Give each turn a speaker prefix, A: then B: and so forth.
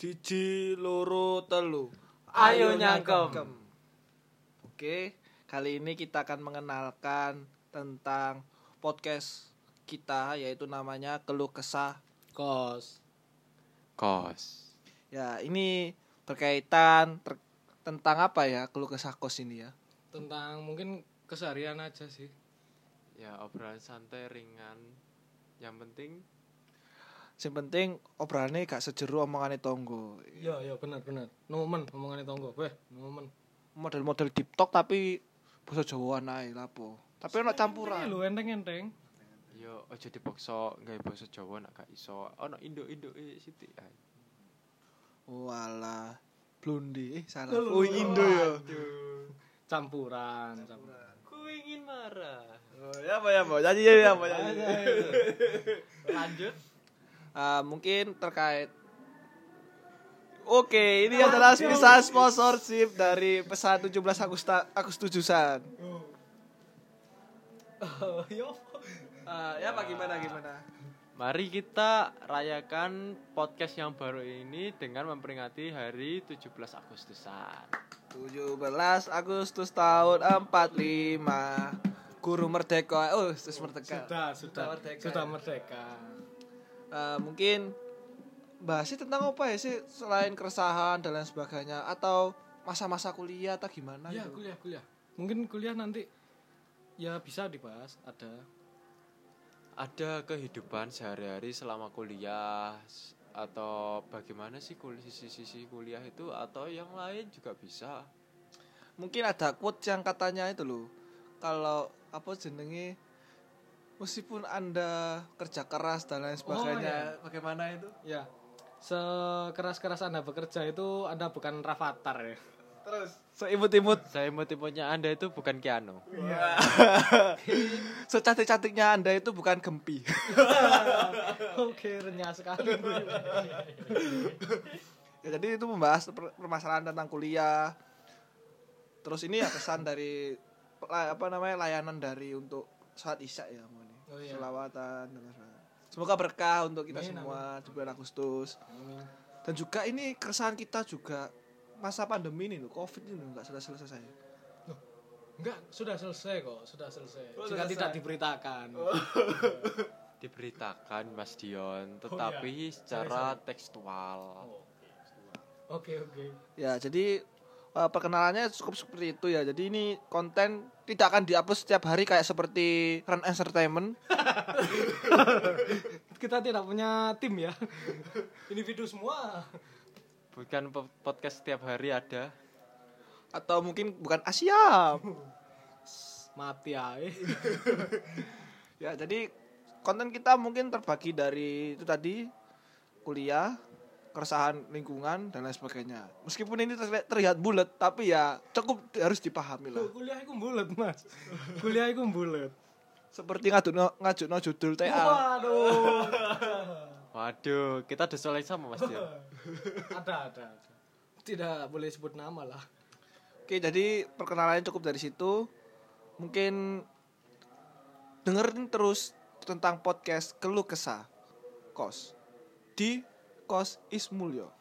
A: Siji, loro, telu.
B: Ayo nyangkem. Oke, kali ini kita akan mengenalkan tentang podcast kita yaitu namanya Keluh Kesah Kos.
C: Kos.
B: Ya, ini berkaitan ter- tentang apa ya Keluh Kesah Kos ini ya?
D: tentang mungkin keseharian aja sih
C: Ya obrolan santai ringan. Yang penting
B: Yang penting obrolannya gak sejeru omongane tonggo.
D: iya iya benar benar nomen omongannya tonggo weh nomen
B: Model-model TikTok tapi basa Jawa ae lapo. Tapi ono campuran.
D: lu enteng enteng
C: yo ojo dipaksa nggawe basa Jawa nak gak iso. Ono induk-induk e sithik ae.
B: Walah, Blundi eh salah. Oh, Indo ya.
D: campuran, campuran.
C: Ku ingin marah.
A: Ya apa ya, Mbak? Jadi ya, Mbak.
C: Lanjut.
B: Ah, mungkin terkait Oke, ini adalah misal sponsorship dari pesan 17 Agusta, Agustusan.
D: Oh, iya.
B: Ah, ya apa gimana gimana?
C: Mari kita rayakan podcast yang baru ini dengan memperingati hari 17 Agustusan.
B: 17 Agustus tahun 45 Guru merdeka. Oh, terus merdeka.
D: sudah sudah
B: merdeka
D: sudah
B: ya?
D: merdeka
B: Eh, mungkin bahasnya tentang apa ya sih selain keresahan dan lain sebagainya atau masa-masa kuliah atau gimana
D: ya
B: gitu?
D: kuliah kuliah mungkin kuliah nanti ya bisa dibahas ada
C: Ada kehidupan sehari-hari selama kuliah s- atau bagaimana sih kul- sisi-sisi kuliah itu atau yang lain juga bisa.
B: mungkin ada quote yang katanya itu loh kalau apa jenenge meskipun anda kerja keras dan lain sebagainya bagaimana itu
D: ya sekeras keras anda bekerja itu anda bukan rafatar ya
B: terus seimut-imut
C: Saya motifnya Anda itu bukan Keanu.
D: iya.
B: secantik-cantiknya anda itu bukan gempi
D: oke renyah Oh, sekali
B: ya, jadi itu membahas per- permasalahan tentang kuliah terus ini ya kesan dari la- apa namanya layanan dari untuk saat isya ya mau ini
D: Oh, iya.
B: selawatan dan lain-lain. semoga berkah untuk kita semua di bulan Agustus dan juga ini keresahan kita juga masa pandemi ini loh covid ini loh nggak selesai selesai
D: enggak sudah selesai kok sudah selesai
B: Oh,
D: Oh, jika
B: sudah
D: tidak
B: selesai.
D: diberitakan
C: Diberitakan Mas Dion, tetapi secara tekstual.
D: oke oke
B: ya jadi eh, perkenalannya cukup seperti itu ya jadi ini konten tidak akan diupload setiap hari kayak seperti Run Entertainment
D: kita tidak punya tim ya individu semua
C: Bukan po- podcast setiap hari ada.
B: atau mungkin bukan Asia
D: mati ae
B: ya jadi konten kita mungkin terbagi dari itu tadi kuliah keresahan lingkungan dan lain sebagainya meskipun ini terli- terlihat bulat tapi ya cukup harus dipahami lah
D: Loh, Oh, kuliah iku bulet mas kuliah iku bulet
B: seperti ngadu ngajuk judul TA
D: waduh
C: Waduh, kita disolek sama Mas Dion.
D: ada ada ada. tidak boleh sebut nama lah
B: oke jadi perkenalannya cukup dari situ mungkin dengerin terus tentang podcast keluh kesah kos di kos is mulyo